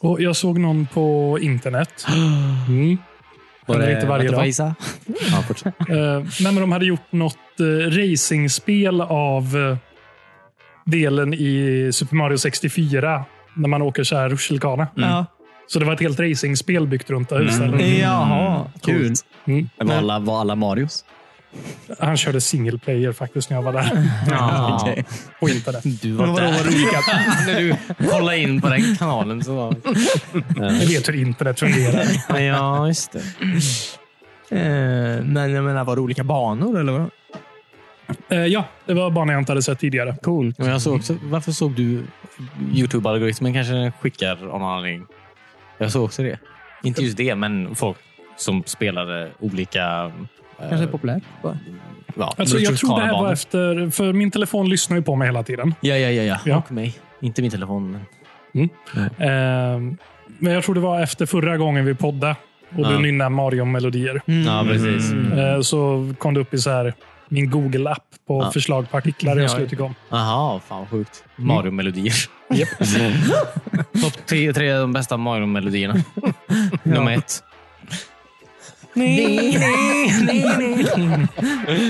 Och jag såg någon på internet. Mm. Händer inte varje dag. Isa? Ja, fortsätt. Eh, nej, men de hade gjort något eh, racingspel av eh, delen i Super Mario 64. När man åker så här rutschkana. Ja. Så det var ett helt racingspel byggt runt det här huset. Mm. Jaha, Kul. coolt. Mm. Var alla, var alla Marios? Han körde single player faktiskt när jag var där. Ja. Okej. På internet. Du var där. Vad roligt att när du kollade in på den kanalen så var Jag vet hur internet fungerar. Men ja, just det. Eh, Men jag menar, var det olika banor eller? vad? Eh, ja, det var banor jag inte hade sett tidigare. Coolt. Men jag såg också, varför såg du Youtube-algoritmen kanske den skickar av någon anledning? Jag såg också det. Inte just det, men folk som spelade olika... eh, Kanske populärt. bara. ja, Alltså, jag tror det här var rutschkanabanor. efter... För min telefon lyssnar ju på mig hela tiden. Ja, ja, ja. ja. Ja. Och mig. Inte min telefon. Men... Eh, men jag tror det var efter förra gången vi poddade och Ja. Mm. du nynnade Mario-melodier. Ja, precis. Eh, så kom det upp i så här, min Google-app på Ja. förslag på artiklar jag skulle tycka om. Jaha, fan vad sjukt. Mario-melodier. Japp. Mm. Topp tre, tre av de bästa Mario-melodierna. Nummer ett. Nej, nej, nej, nej.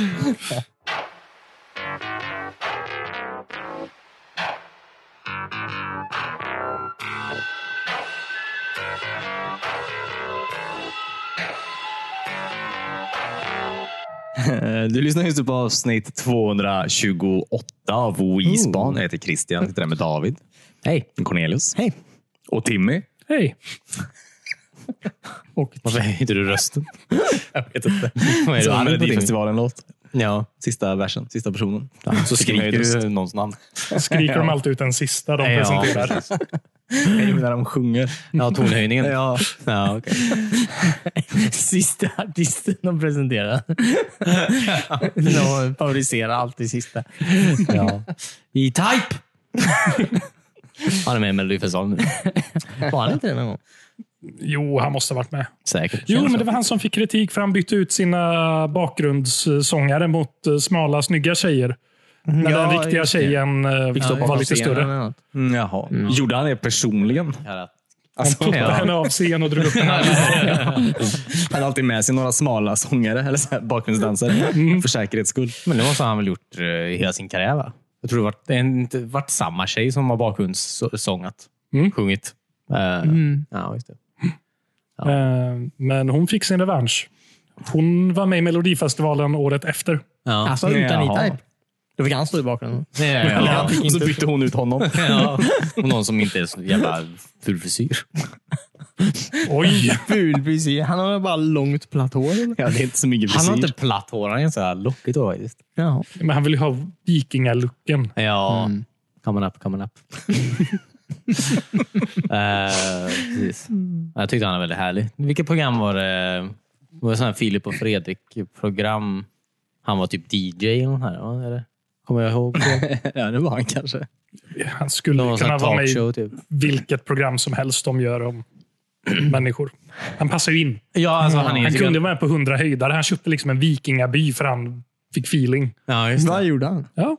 Eh, Du lyssnar just på avsnitt 228 av Wisban. Jag heter Christian. Jag sitter här med David. Hej. Cornelius. Hej. Och Timmy. Hej! Varför höjde du rösten? Jag vet inte. Vad är Så du arg på din? Melodifestivalen-låt. Ja, Sista versen. Sista personen. så skriker Vilken höjd du någons namn. Skriker de alltid ut den sista de presenterar. precis. Jag menar de sjunger. ja tonhöjningen. Ja. Ja, okej. Sista artisten de presenterar. De favoriserar alltid sista. ja. I Type! Han är med i Melodifestivalen nu. Var det inte det någon gång? Jo, han måste ha varit med. Säkert. Jo, Känns men det så. var han som fick kritik för han bytte ut sina bakgrundssångare mot eh, smala, snygga tjejer. Mm. När Ja, den riktiga just det. tjejen eh, var lite större. Mm, Jaha. Gjorde han det personligen? Alltså, Puttade ja. henne av scen och drog upp henne. Han har alltid med sig några smala sångare eller så här bakgrundsdansare för säkerhets skull. Mm. Men det måste han väl gjort eh, hela sin karriär, va? Jag tror det var, det är inte varit samma tjej som har bakgrundssångat. Mm. Sjungit. Eh, Mm. Ja, just det. Eh, Men hon fick sin revansch. Hon var med i Melodifestivalen året efter. Ja. Alltså utan Jaha. E-Type. Då fick han stå i bakgrunden. ja, ja, ja. Och så bytte hon ut honom. Ja. Och någon som inte är så jävla ful frisyr. Oj! Ful frisyr. Han har väl bara långt platt hår? eller? Ja, det är inte så mycket Han frisyr. har inte platt hår, han är så här lockigt hår faktiskt. Jaha. Men han vill ju ha vikingalooken. Ja. Mm. Coming up, coming up. Eh, precis. Jag tyckte han var väldigt härlig. Vilket program var det? Det var sån här Filip och Fredrik-program. Han var typ DJ eller något här, va? eller? Kommer jag ihåg. Det Ja, det var han kanske. Han skulle var en sån kunna här vara med i talkshow typ. vilket program som helst de gör om människor. Han passar ju in. Ja, alltså, han, är, Han kunde vara med på 100 höjdare. Han köpte liksom en vikingaby för han fick feeling. Ja, just Vad det. gjorde han? Ja.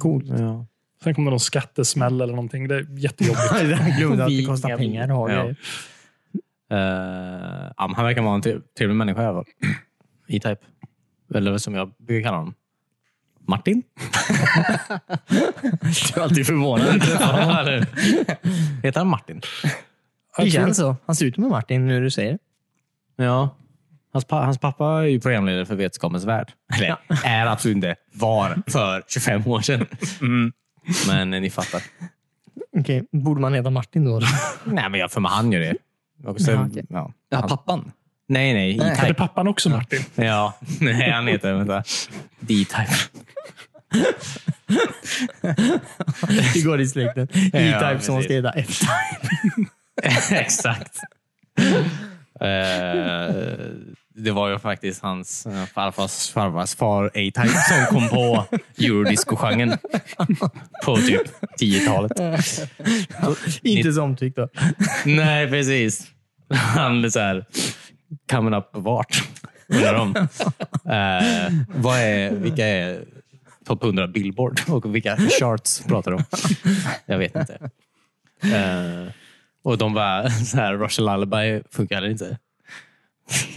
Coolt. Ja. Sen kom det någon skattesmäll eller någonting. Det är jättejobbigt. Det där glömde att det kostar Vingar, pengar att ha ja. grejer. Eh, ja, men han verkar vara en trev- trevlig människa i alla fall. E-Type. Eller som jag brukar kalla honom. Martin? Du är alltid förvånad. Eller- Heter han Martin? Det känns så. Han ser ut med Martin nu du säger det. Ja. Hans, pa- hans pappa är ju programledare för Vetenskapens värld. Eller är absolut inte. Var för 25 år sedan. Men eh, ni fattar. Okej, borde man heta Martin då? Nej, men jag för mig han gör det. Och så, Ja, okej. ja. Ja, pappan. Nej, nej. Hade E-Type. pappan också Martin? Ja. Nej, han heter vänta. D-Type. Det går i släkten. E-Type som precis. ska heta F-Type. Exakt. Eh, det var ju faktiskt hans eh, farfars farfars far A-Type som kom på eurodisco-genren på typ 10-talet. Inte så omtyckt då. Nej, precis. Han är så här, coming up vart? Undrar de. Eh, vad är, vilka är topp 100 Billboard och vilka charts pratar de om? Jag vet inte. Eh, Och de var så här, Russian Lullaby funkade inte.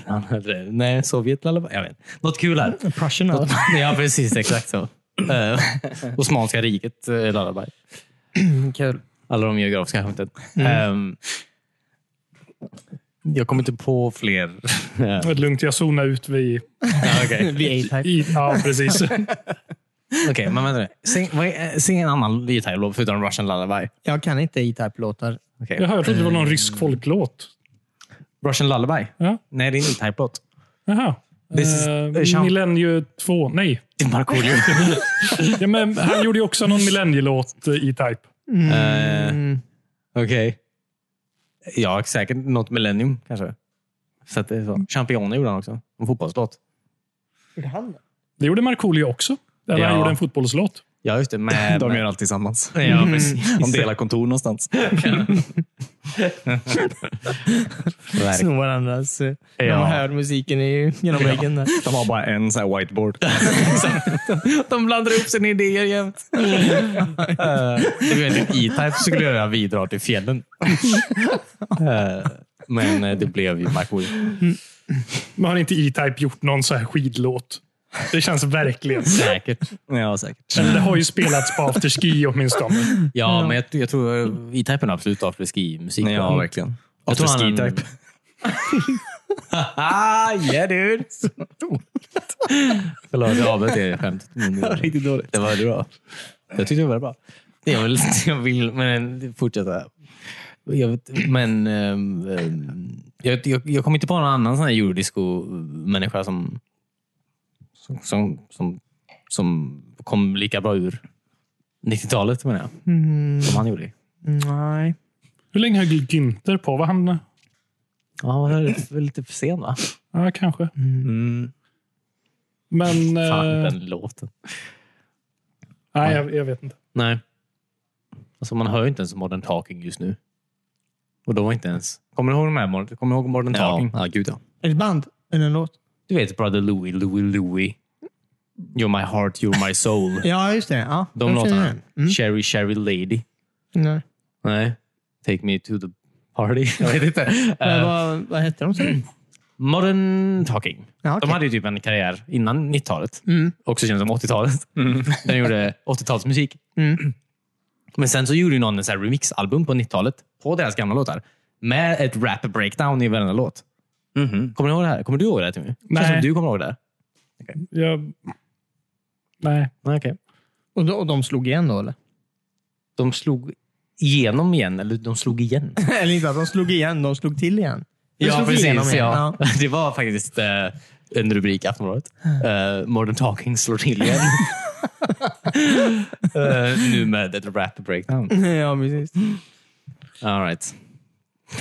Han hade, nej, Sovjet Lullaby. Jag vet inte. Något kul här. Prussian Något- Ja, precis. Exakt så. Eh, Osmanska riket eh, Lullaby. Kul. Alla de geografiska skämten. Ehm, jag kommer inte på fler. Det är lugnt, jag zonar ut vid... Ja, Okej, V-A-Type. I, ja, precis. Okej, men vänta nu. Sing, vad är- sing en annan gitarrlåt förutom Russian Lullaby. Jag kan inte E-Type-låtar. Okej. Jag hörde att det var någon rysk folklåt. Russian Lullaby? Ja. Nej, det är en E-Type-låt. Jaha. This is- eh, Uh, Sean- Millennium 2. Nej. Det är Markoolio. Ja, men han gjorde ju också någon Millennium-låt eh, i Type. Mm. Eh, Okej. Ja, säkert något Millennium kanske. Så att det är så. Championer gjorde han också. En fotbollslåt. Det gjorde Markoolio också. Där Ja. han gjorde en fotbollslåt. Ja, just det. Med, De gör allt tillsammans. Ja, precis. De delar kontor någonstans. Verkligen. Snor varandras... eh, Ja. De hör musiken i, genom väggen. där. De har bara en så här whiteboard. De blandar ihop sina idéer jämt. E-Type skulle göra Vi drar till fjällen. Eh, Men eh, det blev ju Markoolio. Men har inte E-Type gjort någon så här skidlåt? Det känns verkligen. Säkert. Ja, säkert. Eller det har ju spelats på afterski åtminstone. Ja, men jag, jag tror eh, E-Type är absolut afterski-musik. Ja, verkligen. Jag tror han- Afterski-type. Ah, yeah dude! Förlåt, jag avbröt er skämt. Riktigt dåligt. eh, Det var bra. Jag tyckte det var bra. Det jag vill, jag vill men eh, fortsätta. Jag vet, men ehm, ehm, jag, jag, jag kommer inte på någon annan sån här eurodisco-människa som, som, som, som, som kom lika bra ur 90-talet menar jag. Som han gjorde. Mm, Nej. Hur länge höll Günther på? Var han... Ja, han var lite för sen va? Ja, kanske. Mm. Men... Fan, Eh, den låten. nej, jag, jag vet inte. Nej. Alltså man hör ju inte ens Modern Talking just nu. Och de var inte ens... Kommer du ihåg de här? Modern- Kommer du ihåg Modern Ja, Talking? ja, gud ja. Ett band? Eller en låt? Du vet Brother Louie, Louie, Louie. You're my heart, you're my soul. Ja, just det. Ja, De jag känner låtarna. den. Mm. Sherry, Sherry Lady. Nej. Nej. Take me to the party. Jag vet inte. Eh, Eh, vad, vad hette de? sa du? modern Talking. Ja, okej. De hade ju typ en karriär innan 90-talet. Mm. Också känd som 80-talet. Den gjorde 80-talsmusik. Mm. Men sen så gjorde ju någon en sån här remixalbum på 90-talet på deras gamla låtar. Med ett rap breakdown i varenda låt. Mhm. Kommer du ihåg det här? Kommer du ihåg det här Timmy? Nej. Känns som du kommer ihåg det här. Jag, nej. Nej, okej. Och, de, och de slog igen då, eller? De slog igenom igen, eller de slog igen. eller inte att de slog igen, de slog till igen. De Ja, slog igenom precis. igen, Ja. Det var faktiskt eh, en rubrik i Aftonbladet. Eh, Modern Talking slår till igen. Eh, nu med ett rap breakdown. ja. ja, precis. All right.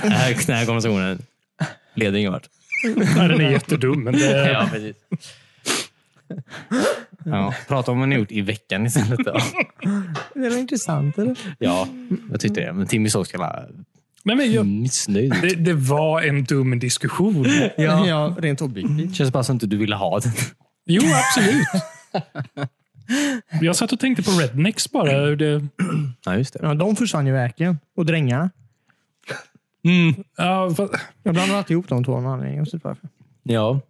Den här, den här konversationen leder ingen vart. nej. Den är jättedum, men det, Ja, precis. Ja, prata om vad ni gjort i veckan istället. Då. Det var intressant, eller? Ja, jag tyckte det. Men Timmy såg så jävla nej, men jag, missnöjd ut. det, det var en dum diskussion. Ja, ja rent objektivt. Det känns bara som att du ville ha den. Jo, absolut. Jag satt och tänkte på Rednecks bara. hur Det, Ja, just det. Ja, de försvann ju verkligen. Och drängarna. ja, fa- Jag blandar alltid ihop de två av någon anledning. Jag vet inte varför. Ja.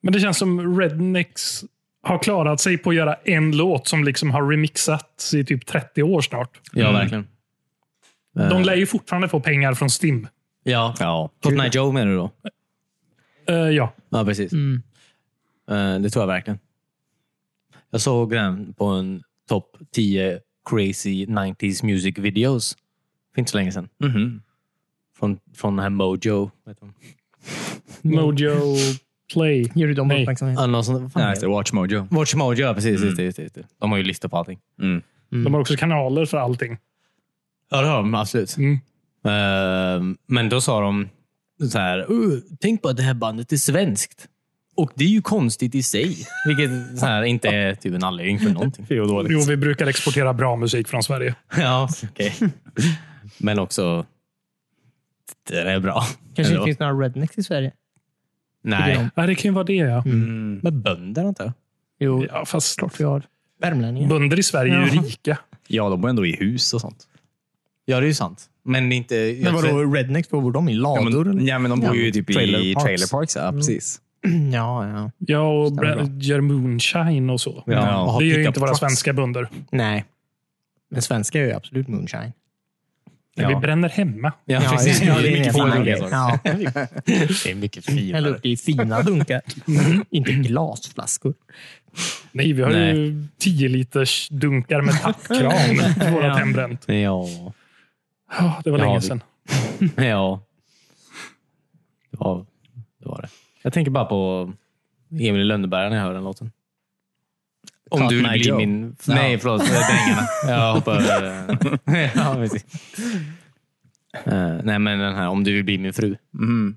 men det känns som Rednecks har klarat sig på att göra en låt som liksom har remixats i typ 30 år snart. Ja, verkligen. Eh. De lär ju fortfarande få pengar från Stim. Ja. Ja. Cotton Eye Joe menar du då? Eh, ja. Ja, precis. Mm. Eh, Det tror jag verkligen. Jag såg den på en topp 10 crazy 90s music videos för inte så länge sedan. Mhm. Från, från den här Mojo. Vet du? Mojo Play. Ger du dem Nej. uppmärksamhet? Ah, någon sån, vad fan Ja, är just det? det. Watch Mojo. Watch Mojo, ja, precis. Just det, just det, just det. De har ju listor på allting. Mm. De har också kanaler för allting. Ja, det har de absolut. Mm. Eh, men då sa de så här, "Uh, tänk på att det här bandet är svenskt. Och det är ju konstigt i sig. Vilket så här, inte är typ en anledning för någonting. Det är dåligt. Jo, vi brukar exportera bra musik från Sverige. Ja, okej. Men också, det är bra. Kanske Eller inte vad? finns några rednecks i Sverige? Nej. Ja, det kan ju vara det, ja. Mm. Med bönder antar jag. Jo, ja fast klart vi har. Värmlänningar. bönder i Sverige är ju Ja. rika. Ja, de bor ändå i hus och sånt. Ja, det är ju sant. Men det är inte... jag Men tror- vadå, rednecks, vad bor de i? Lador? men, ja, men de bor Ja. ju typ i Trailer parks. Mm. trailer parks. Ja, precis. eller? ja, ja. Ja, och Stämmer bra. Brad gör moonshine och så. Ja. Och har Det gör ju pickup inte våra trucks. svenska bönder. Nej. Men svenska är ju absolut moonshine. Men Vi Ja. bränner hemma. Ja, precis. ja, det är en mycket helt annan finare. grej. Ja. Det är mycket Häller finare. upp i fina dunkar. Inte glasflaskor. Nej, vi har Nej. ju 10 liters dunkar med tappkran på våra Ja. hembränt. Ja. Ja, det var Ja, länge det- sedan. ja. Det var, det var det. Jag tänker bara på Emil i Lönneberga när jag hör den låten. Om Cotton du Eye blir Joe. min... Nej, förlåt. eh, Drängarna. Jag hoppar över... eh, ja, precis. Eh, nej, men den här Om du vill bli min fru. Mm.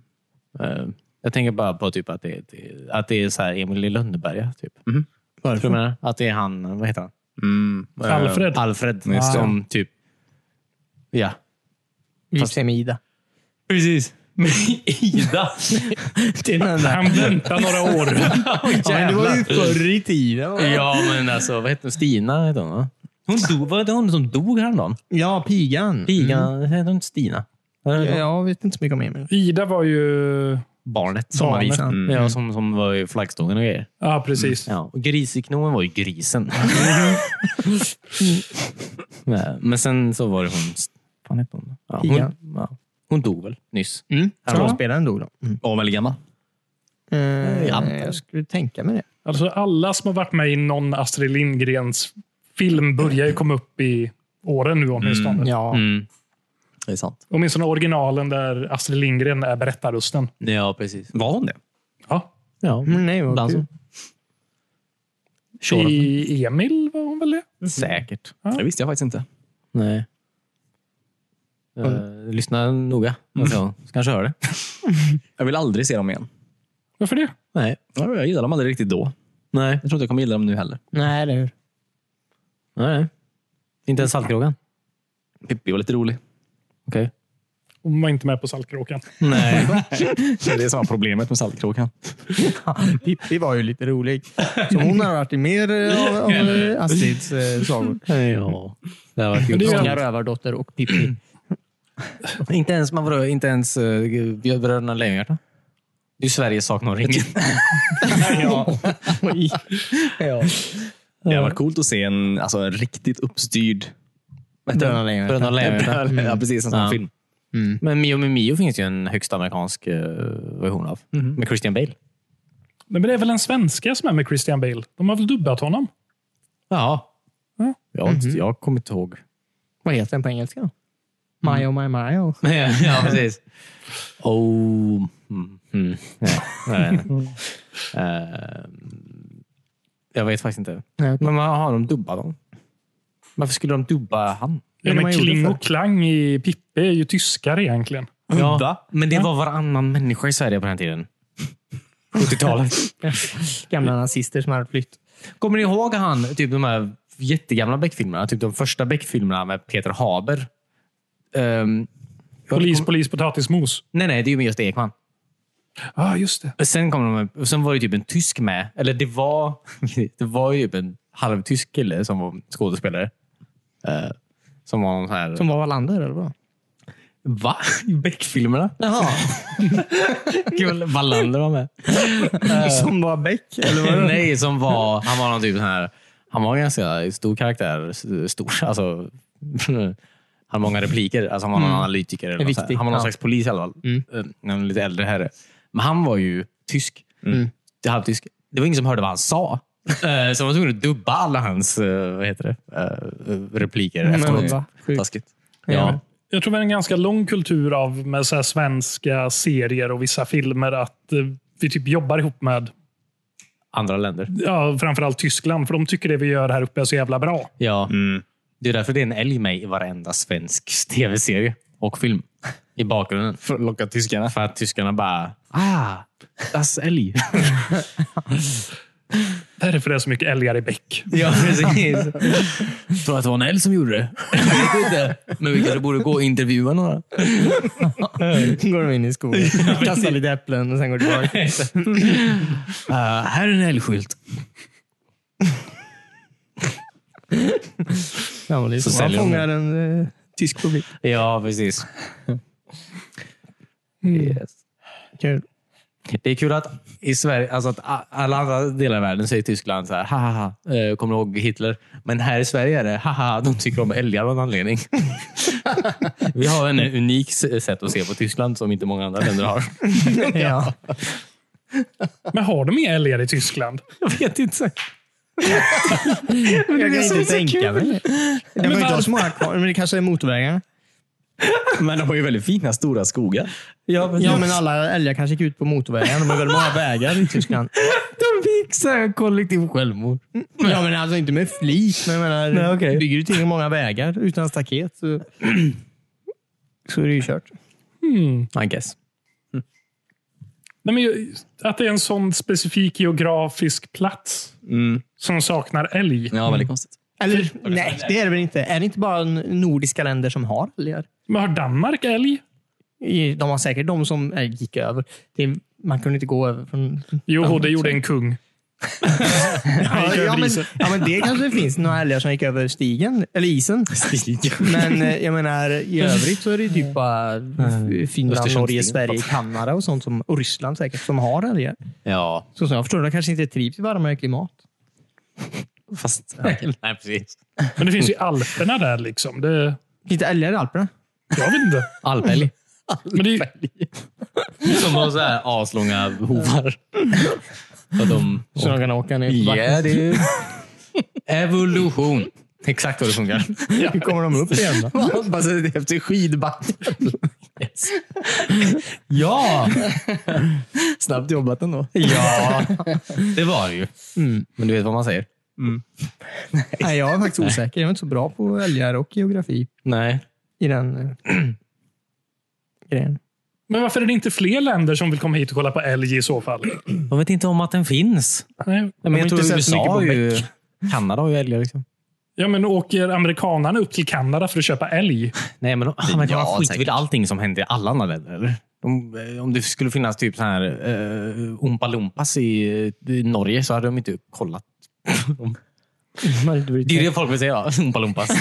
Eh, jag tänker bara på typ att det, är- att det är så här Emil i Lönneberga. Typ. Förstår du vad jag menar? Att det är han, vad heter han? Mm. Eh, Alfred. Alfred. det. Som typ... Ja. Fast med Ida. Precis. Med Ida. Det är den där. Han väntar några år. Ja, men det var ju förr i tiden. va? Ja, men alltså vad hette hon? Stina hette hon va? Hon dog, var det hon som dog häromdagen? Ja, pigan. Pigan, Mm. hette hon inte Stina? Ja, Jag vet inte så mycket om Emil. Ida var ju... Barnet. Sommarvisan. Barnet. Ja, Mm. som, som var i flaggstången och grejer. Ja, precis. Ja, och griseknomen var ju grisen. Nej, men sen så var det hon... Fan hette hon? Ja, Pia. hon, ja. hon dog väl nyss? Mm. Ja. Skådespelaren dog då. Mm. Om eller gammal? Eh, Ja. Jag skulle tänka mig det. Alltså alla som har varit med i någon Astrid Lindgrens film börjar ju komma upp i åren nu åtminstone. Ja. Mm. Det är sant. Åtminstone originalen där Astrid Lindgren är berättarrösten. Ja, precis. Var hon det? Ja. Ja, Men nej, vad Dansen. kul. I Emil var hon väl det? Säkert. Det visste jag faktiskt inte. Nej. Eh, lyssna noga. Alltså, så kanske hör det. Mm. Jag vill aldrig se dem igen. Varför det? Nej. Ja, Jag gillade dem aldrig riktigt då. Nej. Jag tror inte jag kommer gilla dem nu heller. Nej, eller hur? Nej. Inte ens Saltkråkan? Pippi var lite rolig. Okej. Hon var inte med på Saltkråkan. Nej. Det är det som var problemet med Saltkråkan. Pippi var ju lite rolig. Så hon har varit i mer eh, av, av eh, Astrids eh, sagor. ja. Det har varit Men det är ju- Långa rövardotter och Pippi. Inte ens, man vadå, inte ens eh, uh, Bröderna Lejonhjärta? Det är ju Sveriges sak någon ringer. ja. ja. Det hade varit coolt att se en, alltså, en riktigt uppstyrd... vad heter Bröderna Mm. den? Lejonhjärta. Bröderna Lejonhjärta. Mm. Ja, precis. En sån Ja. film. Men Mio med Mio finns ju en högst amerikansk eh, version av. Mhm. Med Christian Bale. Men det är väl en svenska som är med Christian Bale? De har väl dubbat honom? Ja. Ja. Jag, har inte- Mhm. jag kommer inte ihåg. Vad heter den på engelska då? Mayo, my Mayo. ja, precis. Oh. Mm. Mm. Nej, jag vet inte. Eh, jag vet faktiskt inte. Nej, okej. Men vad har de dubbat dem? Varför skulle de dubba han? Ja, är det men man gjorde Kling förr. och Klang i Pippi är ju tyskar egentligen. Ja, men det var varannan människa i Sverige på den tiden. 70-talet. Gamla nazister som hade flytt. Kommer ni ihåg han, typ de här jättegamla Beck-filmerna? Typ de första Beck-filmerna med Peter Haber. Ehm, Polis, polis, potatismos. nej, nej, det är ju med just Ekman. Ja, just det. Och Sen, kom de, och sen var det typ en tysk med. Eller det var, det var ju typ en halvtysk kille som var skådespelare. Eh, som var någon sån här... Som var Wallander eller vad? va? I Beck-filmerna? Jaha. Kul. Wallander var med. som var Beck? Eller vad? Nej, som var... Han var någon typ sån här... Han var en ganska stor karaktär. s- Stor. Alltså, han har många repliker. Alltså, han var någon Mm. analytiker. Eller något Viktig, så här. han var någon ja. Mm. slags polis i alla fall. Eh, En lite äldre herre. Men han var ju tysk. Mm. Det- Halvtysk. Det var ingen som hörde vad han sa. Eh, Så de var tvungna att dubba alla hans eh, vad heter det? Eh, repliker. Men, efteråt. va? Mm, Sjukt. Taskigt. Ja. Jag tror vi har en ganska lång kultur av med så här svenska serier och vissa filmer att eh, vi typ jobbar ihop med Andra länder. ja, framförallt Tyskland. För de tycker det vi gör här uppe är så jävla bra. Ja. Mm. Det är därför det är en älg med i varenda svensk tv-serie och film. I bakgrunden. För att locka tyskarna. För att tyskarna bara... Ah, das älg. Därför är det så mycket älgar i bäck. ja, precis. Tror att det var en älg som gjorde det? Jag vet inte. Men vi kanske borde gå och intervjua några. går de in i skogen, kastar lite äpplen och sen går de tillbaka. Eh, här är en älgskylt. Ja, men det är så säljer man de fångar en eh, Tysk publik. Ja, precis. Mm. Yes. Kul. Det är kul att i Sverige, alltså att a- alla andra delar av världen säger Tyskland så här, ha ha ha, eh, kommer du ihåg Hitler? Men här i Sverige är det, ha ha, ha, de tycker om älgar av någon anledning. Vi har en unik s- sätt att se på Tyskland som inte många andra länder har. Ja. Men har de inga älgar i Tyskland? Jag vet inte. Jag är kan så- inte så tänka mig det. De har ju inte varför- ha så många kvar, men det kanske är motorvägarna. Men de har ju väldigt fina stora skogar. Ja, Ja, men alla älgar kanske gick ut på motorvägarna. De har väldigt många vägar i Tyskland. de fick så här kollektiv självmord. Ja, men alltså inte med flit, men jag menar, Nej, okej. bygger du tillräckligt många vägar utan staket så, så är det ju kört. I guess. Nej, men ju- att det är en sån specifik geografisk plats som saknar älg. Ja, Mm. väldigt konstigt. Eller nej, det är det väl inte. Är det inte bara nordiska länder som har älgar? Men har Danmark älg? I- De har säkert de som eh, gick över. Det är, man kunde inte gå över från... Jo, det gjorde en kung. Han gick ja, över men, isen. ja, men det kanske finns några älgar som gick över stigen, eller isen. Men eh, jag menar, i övrigt så är det ju typ bara Eh, Finland, Östersundsstigen. Norge, Sverige, Kanada och sånt som, och Ryssland säkert, som har älgar. Ja, Så som jag förstår de kanske inte trivs i varmare klimat. fast... Nej, precis. Men det finns ju Alperna där. liksom. Det, Inte älgar i Alperna. Mm. jag vet inte. Alpälg. Men det, är ju- Som har så här aslånga hovar. Och de... Så de kan åka ner Ja, på yeah. det är ju- Evolution. Exakt vad det funkar. Hur kommer de upp igen då? Hoppas att det är efter skidbacken. Yes. Ja! Snabbt jobbat ändå. Ja, det var det ju. Men du vet vad man säger? Mm. Nej, jag är faktiskt osäker. Jag är inte så bra på älgar och geografi Nej. i den eh, grejen. men varför är det inte fler länder som vill komma hit och kolla på älg i så fall? De vet inte om att den finns. Nej. Men jag inte tror sett så USA mycket på har ju... Kanada har ju älgar. Liksom. Ja, men åker amerikanarna upp till Kanada för att köpa älg? Nej, men de, amerikanerna Ja, skiter väl säkert. i allting som händer i alla andra länder? Eller? De, eh, om det skulle finnas typ så här uh, Oompa Loompas i, eh, i Norge så hade de inte kollat. Det är det folk vill säga. Oompa Loompas.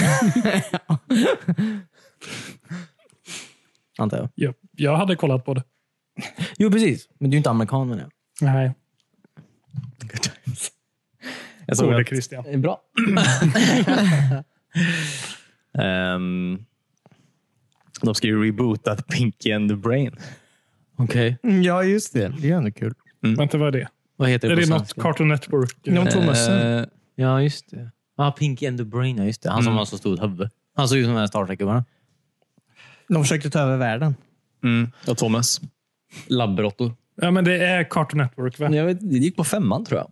Antar jag. Jag, jag hade kollat på det. Jo, precis. Men du är inte amerikan menar jag. Nej, Jag såg så det att, Christian. Det är bra. ehm, de ska ju reboota Pinky and the Brain. Okej. Mm, Ja, just det. Det är ändå kul. Vänta, vad är det? Vad heter det Är på det något svenska? Cartoon Network? De två mössorna. Eh, ja, just det. Ah, Pinky and the Brain, ja, just det. Han Mm. som har så stort huvud. Han såg ut som den här Star Trek-gubben. De försökte ta över världen. Mm. Och Thomas. Labbrottor. Ja, men det är Cartoon Network, va? Jag vet, det gick på femman tror jag.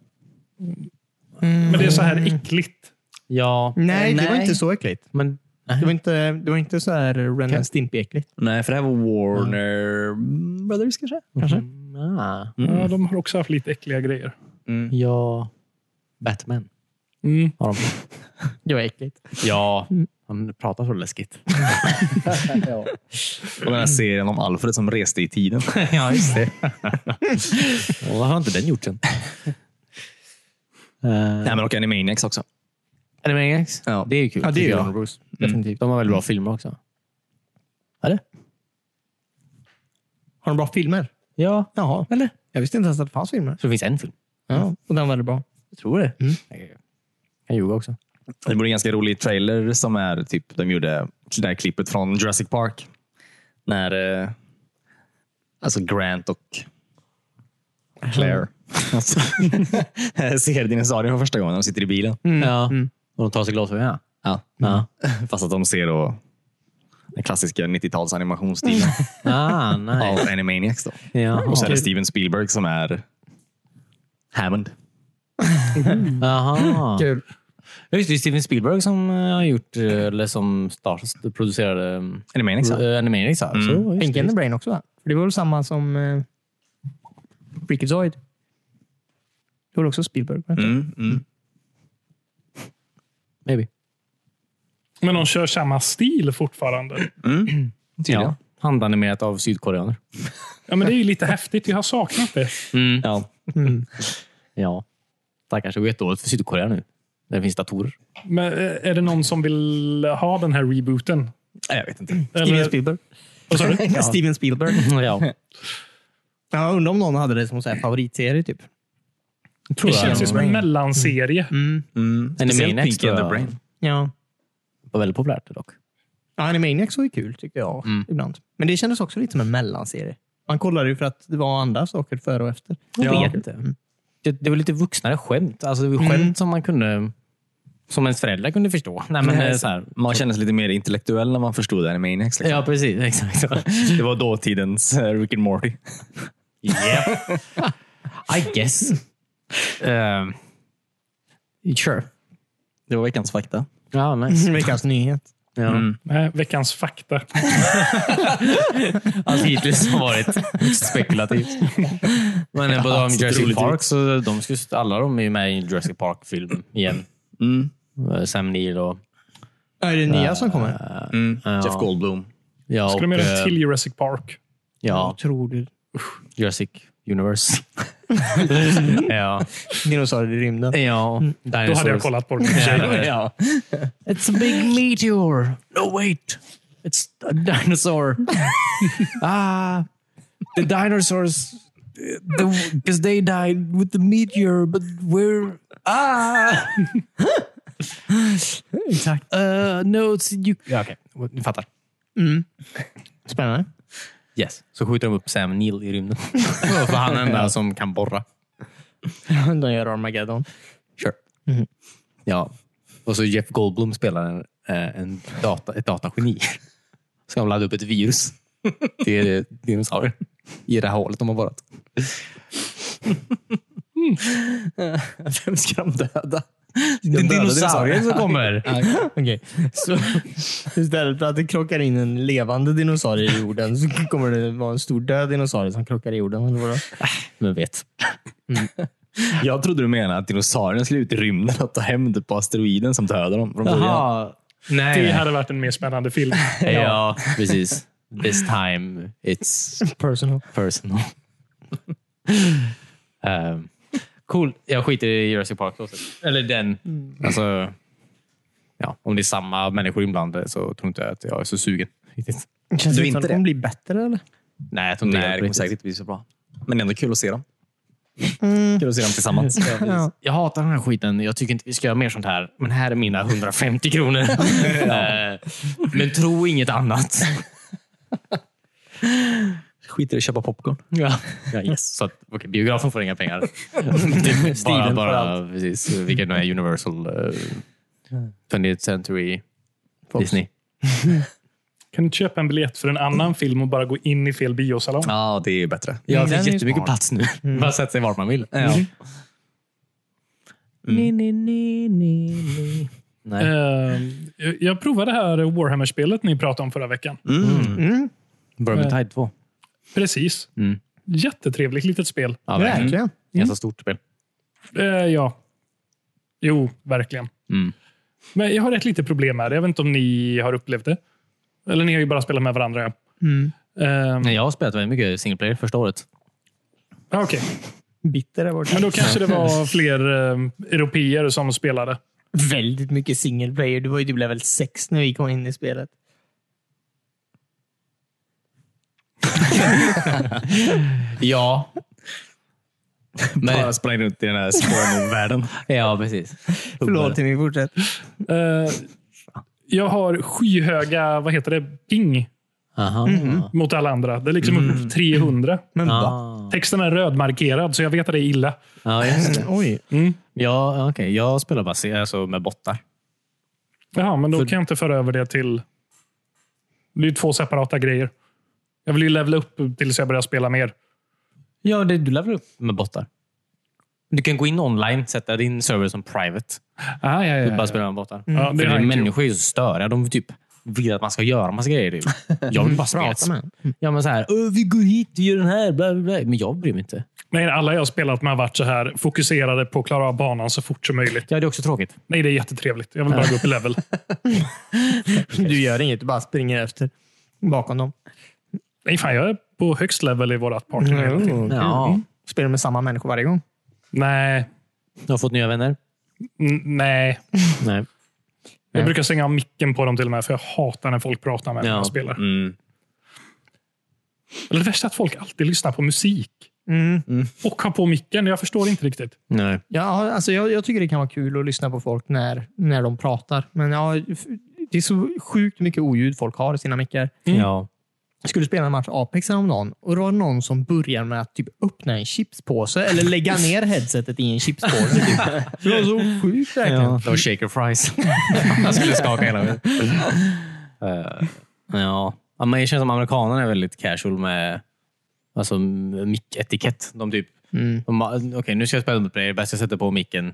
Men det är så här äckligt. Ja. Nej, det var inte så äckligt. Men, Det var inte, det var inte så här Ren and Stimpy-äckligt. Nej, för det här var Warner Brothers kanske? Kanske? Mm, ah, Ja, de har också haft lite äckliga grejer. ja. Batman Mm. har de. Det var äckligt. Ja. Han pratar så läskigt. Och den här serien om Alfred som reste i tiden. ja, just det. Vad har inte den gjort sen? Nej, men och Animaniacs också. Animaniacs? Ja. Det är ju kul. Ja, det tycker är jag. Mm. Warner Bros. Definitivt. De har väldigt bra filmer också. Är det? Har de bra filmer? Ja. Jaha. Eller? Jag visste inte ens att det fanns filmer. Så det finns en film. Ja, och den var väldigt bra. Mm. Jag tror det. Jag kan ljuga också. Det vore en ganska rolig trailer som är typ, de gjorde det där klippet från Jurassic Park. När eh, alltså Grant och Claire alltså, ser dinosaurier för första gången. De sitter i bilen. Ja. Och de tar sig glasögonen. Ja. Ja. Mm. Fast att de ser då den klassiska 90-tals animationsstilen Ah, av nice. Animaniacs. Då. Ja. Och så är det Steven Spielberg som är Hammond. Jaha. Kul. Ja, Just det, Steven Spielberg som eh, har gjort, eh, eller som stars, producerade um, Animaniacs. ja. Animaniacs. Mm. här. Så, just Pink det. and the Brain också va? För det var väl samma som eh, Freakazoid? Det var också Spielberg? va? Mm, mm. Maybe. Men de kör samma stil fortfarande. Ja. Ja. Handanimerat av sydkoreaner. Ja, men det är ju lite häftigt. Jag har saknat det. Ja. Mm. Ja. Stackars, det går jättedåligt för Sydkorea nu. Där finns datorer. Men eh, är det någon som vill ha den här rebooten? Nej, Jag vet inte. Steven Eller, Spielberg. vad sa du? Steven Spielberg. ja. Jag undrar om någon hade det som så här favoritserie. Typ. Det känns ju som en mellanserie. Mm. Mm. Speciellt Animaniacs Pinky and tror the jag. Brain. Ja. Var väldigt populärt dock. Ja, Animaniacs var ju kul tyckte jag Mm. ibland. Men det kändes också lite som en mellanserie. Man kollade ju för att det var andra saker före och efter. Jag vet inte. Det, det var lite vuxnare skämt. Alltså, det var skämt Mm. som man kunde som ens föräldrar kunde förstå. Nej, men, Nej, eh, så här. Man kände sig lite mer intellektuell när man förstod Animaniacs. Liksom. Ja, precis. Exakt. så. Det var dåtidens eh, Rick and Morty. Yep. I guess. Ehm, sure. Det var veckans fakta. Ja, nice. Veckans nyhet. Ja. Mm. Nej, veckans fakta. Allt alltså, hittills har varit högst spekulativt. Men eh, på Ja, de så Jurassic otroligt Park, ut. så de skulle, alla de är ju med i en Jurassic Park-film igen. Mm. Eh, Sam Neill och... Är det nya som kommer? Mm. Ja. Jeff Goldblum. Ja, Ska de göra eh, en till Jurassic Park? Ja, Tror du? Jurassic Universe. ja. Dinosaurier i rymden. ja. Då hade jag kollat på den. Ja. It's a big meteor. No wait. It's a dinosaur. ah, the dinosaurs. Because they died with the meteor, but we're... Ah! Exakt. Uh, no, it's... You... Ja, Okej, ni fattar. Spännande. Yes. Så skjuter de upp Sam Neill i rymden. För han är den enda som kan borra. De gör Armageddon. Sure. Ja. Och så Jeff Goldblum spelar en, eh, en data, ett datageni. Ska de ladda upp ett virus till dinosaurier i det här hålet de har borrat. Vem ska de döda? Den dinosaurien som kommer. Okej. Så istället för att det krockar in en levande dinosaurie i jorden så kommer det vara en stor död dinosaurie som krockar i jorden. Eller vadå? Men vet. Jag trodde du menade att dinosaurierna skulle ut i rymden och ta hämnd på asteroiden som dödar dem från början. Jaha. Nej. Det hade varit en mer spännande film. ja. precis. This time it's Personal. personal. um, cool. Jag skiter i Jurassic Park. då. Eller den. Alltså, ja, om det är samma människor inblandade så tror inte jag att jag är så sugen. Riktigt. Känns Du inte det inte som att det? de kommer bli bättre eller? Nej, jag tror inte Nej, det kommer riktigt. säkert inte bli så bra. Men ändå kul att se dem. Kul att se dem tillsammans. Ja. Jag hatar den här skiten. Jag tycker inte vi ska göra mer sånt här. Men här är mina 150 kronor. Eh, Men tro inget annat. Skiter i att köpa popcorn. Ja. yes. Så att, okej, biografen får inga pengar. Det- bara, Stilen får bara, precis, vilket nu är Universal, uh, 20th Century, Disney. Kan du inte köpa en biljett för en annan film och bara gå in i fel biosalong? Ja, det är bättre. Jag den är ju fick jättemycket smart. plats nu. Bara sätta sig var man vill. Mm. Ni, ni, ni, ni, ni. Nej. Eh, jag provade det här Warhammer-spelet ni pratade om förra veckan. Mm. Vermintide 2. Precis. Mm. Jättetrevligt litet spel. Ja, Verkligen. Ganska stort spel. Eh, ja. Jo, verkligen. Mm. Men jag har ett litet problem med det. Jag vet inte om ni har upplevt det. Eller ni har ju bara spelat med varandra. ja. Mm. Eh, Nej, Jag har spelat väldigt mycket single player första året. ja, Okej, Bitter där borta. men då kanske det var fler uh, europeer som spelade. Väldigt mycket single player. Du var ju typ level 6 när vi kom in i spelet. Ja. Bara Men, sprang runt i den här spårvärlden. ja, precis. Förlåt Timmy, fortsätt. Eh, jag har skyhöga, vad heter det, ping Aha. Mm. Mm. mot alla andra. Det är liksom uppe på 300. Men va? Ah. Texten är rödmarkerad, så jag vet att det är illa. Ja, just det. Oj. Mm. Ja, okej. Jag spelar bara se- alltså med bottar. Jaha, men då kan jag inte föra över det till... Det är ju två separata grejer. Jag vill ju levela upp tills jag börjar spela mer. Ja, det, du levelar upp med bottar. Du kan gå in online, sätta din server som private. Ah, ja, Du bara spelar med bottar. Mm. Ja, det För har jag det, inte gjort. människor är ju så störiga. De typ vill att man ska göra massa grejer. Typ. Jag vill bara spela. Prata med Ja, men så här, "Ö, vi går hit, vi gör den här, bla, bla, bla. Men jag bryr mig inte. Nej, alla jag har spelat med har varit så här fokuserade på att klara av banan så fort som möjligt. Ja, det är också tråkigt. Nej, det är jättetrevligt. Jag vill bara gå upp i level. Du gör inget, du bara springer efter. Bakom dem. Nej, fan, jag är på högst level i vårt partner. hela tiden. Mm. Ja. Mm. Spelar med samma människor varje gång. Nej, Jag har fått nya vänner. N- nej. Nej. Jag brukar stänga av micken på dem till och med, för jag hatar när folk pratar med mig när jag spelar. Mm. Eller det värsta är att folk alltid lyssnar på musik Mm. och har på micken. Jag förstår inte riktigt. Nej. Ja, alltså jag, jag tycker det kan vara kul att lyssna på folk när, när de pratar. Men ja, f- det är så sjukt mycket oljud folk har i sina mickar. Mm. Ja. Jag skulle spela en match Apex häromdagen och det var någon som började med att typ öppna en chipspåse eller lägga ner headsetet i en chipspåse. Typ. Det var så sjukt verkligen. Ja. Det var shaker fries. Han skulle skaka hela mig. Eh, ja. Ja, men det känns som amerikanerna är väldigt casual med alltså, micketikett. De typ, Mm. de bara, okej nu ska jag spela upp det, det är bäst jag sätter på micken.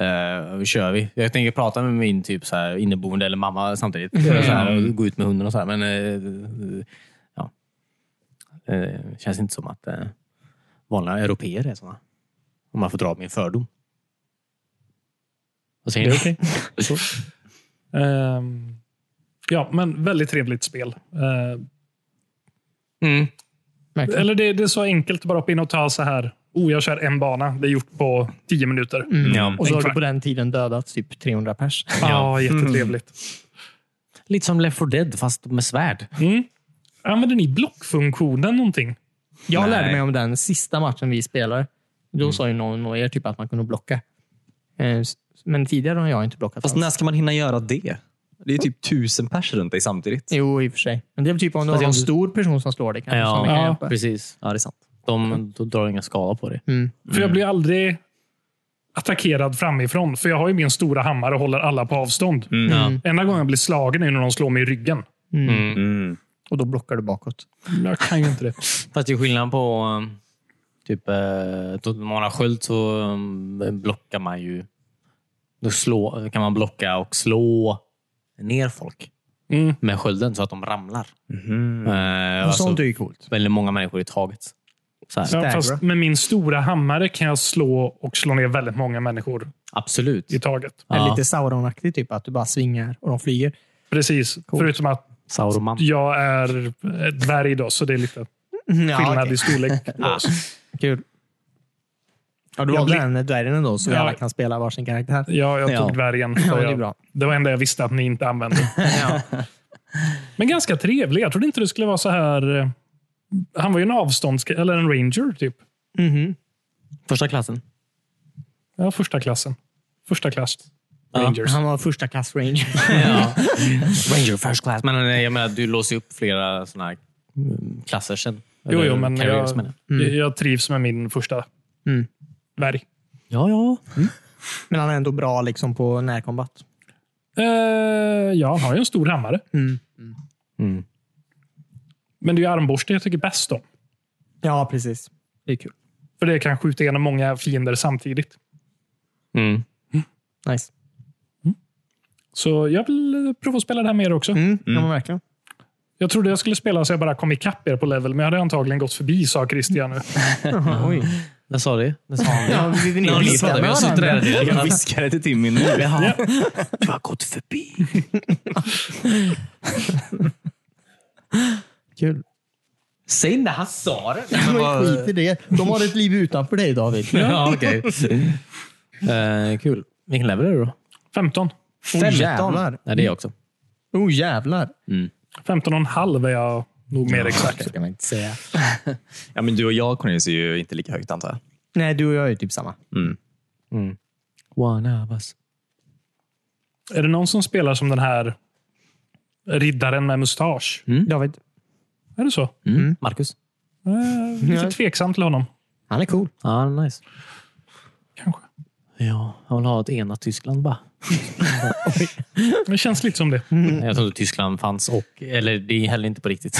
Uh, kör vi. Jag tänker prata med min typ så här, inneboende eller mamma samtidigt. Så här, och gå ut med hunden och så här. Men eh, ja. Eh, känns inte som att eh, vanliga europeer är såna. Om man får dra min fördom. Vad säger ni? Ehm, ja, men väldigt trevligt spel. Ehm, Mm. verkligen. eller det, det är så enkelt att bara hoppa in och ta så här. Oh, jag kör en bana. Det är gjort på tio minuter. Mm. Ja. Och så har Exakt. du på den tiden dödat typ 300 pers. Ja, jättetrevligt. Lite som Left 4 Dead fast med svärd. Mm. Använder ni blockfunktionen någonting? Jag Nej. lärde mig om den sista matchen vi spelade. Då sa ju någon av er typ att man kunde blocka. Eh, s- Men tidigare har jag inte blockat Fast alls. när ska man hinna göra det? Det är typ tusen pers runt dig samtidigt. Jo, i och för sig. Men det är väl typ om du har jag- en stor person som slår dig. Kanske, Ja. som kan Ja. hjälpa. Precis. Ja, det är sant. De, de drar inga skala på det. Mm. För jag blir aldrig attackerad framifrån. För jag har ju min stora hammare och håller alla på avstånd. Mm. Ja. Enda gången jag blir slagen är när de slår mig i ryggen. Mm. Och då blockar du bakåt. Jag kan ju inte det. Fast det är skillnad på um, typ eh, då man har sköld så um, blockar man ju. Då slå, kan man blocka och slå ner folk Mm. med skölden så att de ramlar. Eh, Och alltså, sånt är ju coolt. väldigt många människor i taget. Så här. Ja, Stagra. fast med min stora hammare kan jag slå och slå ner väldigt många människor Absolut. i taget. Det är Ja. lite Sauron-aktigt, typ, att du bara svingar och de flyger. Precis. Förutom att Sauroman. jag är ett dvärg då, så det är lite skillnad Mm, Ja, i Ah, okej. storlek. Kul. Ja, du Jag valde blir- den dvärgen ändå, så vi Ja. alla kan spela varsin karaktär. Ja, jag tog Ja. dvärgen. Ja, för det är jag- bra. det var det enda jag visste att ni inte använde. Men ganska trevlig. Jag trodde inte det skulle vara så här... eh, Han var ju en avstånds... Eller en ranger, typ. Mhm. Första klassen. Ja, första klassen. Första klass. Rangers. Han var första klass ranger. Ja. Ranger first class. Men eh, jag menar, du låser ju upp flera såna här mm, klasser sen. Jo, Eller jo, men careers, jag, menar jag trivs med min första Mm. dvärg. jag. Ja, ja. Men han är ändå bra liksom, på närkombat. Eh, ja, han har ju en stor hammare. Mm. Mm. Men det är ju armborste jag tycker bäst om. Ja, precis. Det är kul. För det kan skjuta igenom många fiender samtidigt. Mm. Nice. Så jag vill eh, prova att spela det här mer också. Mm. Ja, men verkligen. Jag trodde jag skulle spela så jag bara kom ikapp er på level, men jag hade antagligen gått förbi, sa Christian nu. Oj. När sa du? När sa han det? Ja, vi Ja, vi pratade, vi har suttit där hela tiden. Jag viskade till Timmy nu. Ja. Du har gått förbi. Kul. Säg när han sa det. Men skit i det. De har ett liv utanför dig, David. Ja, okej. Eh, Kul. Vilken level är du då? 15. Femton. Ja, det är jag också. Oh jävlar. 15 och en halv är jag nog mer exakt. Så kan man inte säga. Ja, men du och jag, Cornelius, är ju inte lika högt antar jag. Nej, du och jag är typ samma. One of us. Är det någon som spelar som den här riddaren med mustasch? David. Är det så? Mm. Marcus? Eh, lite Ja. tveksam till honom. Han är cool. Ja, nice. Kanske. Ja, jag vill ha ett enat Tyskland bara. Det känns lite som det. Jag trodde Tyskland fanns och... Eller det är heller inte på riktigt.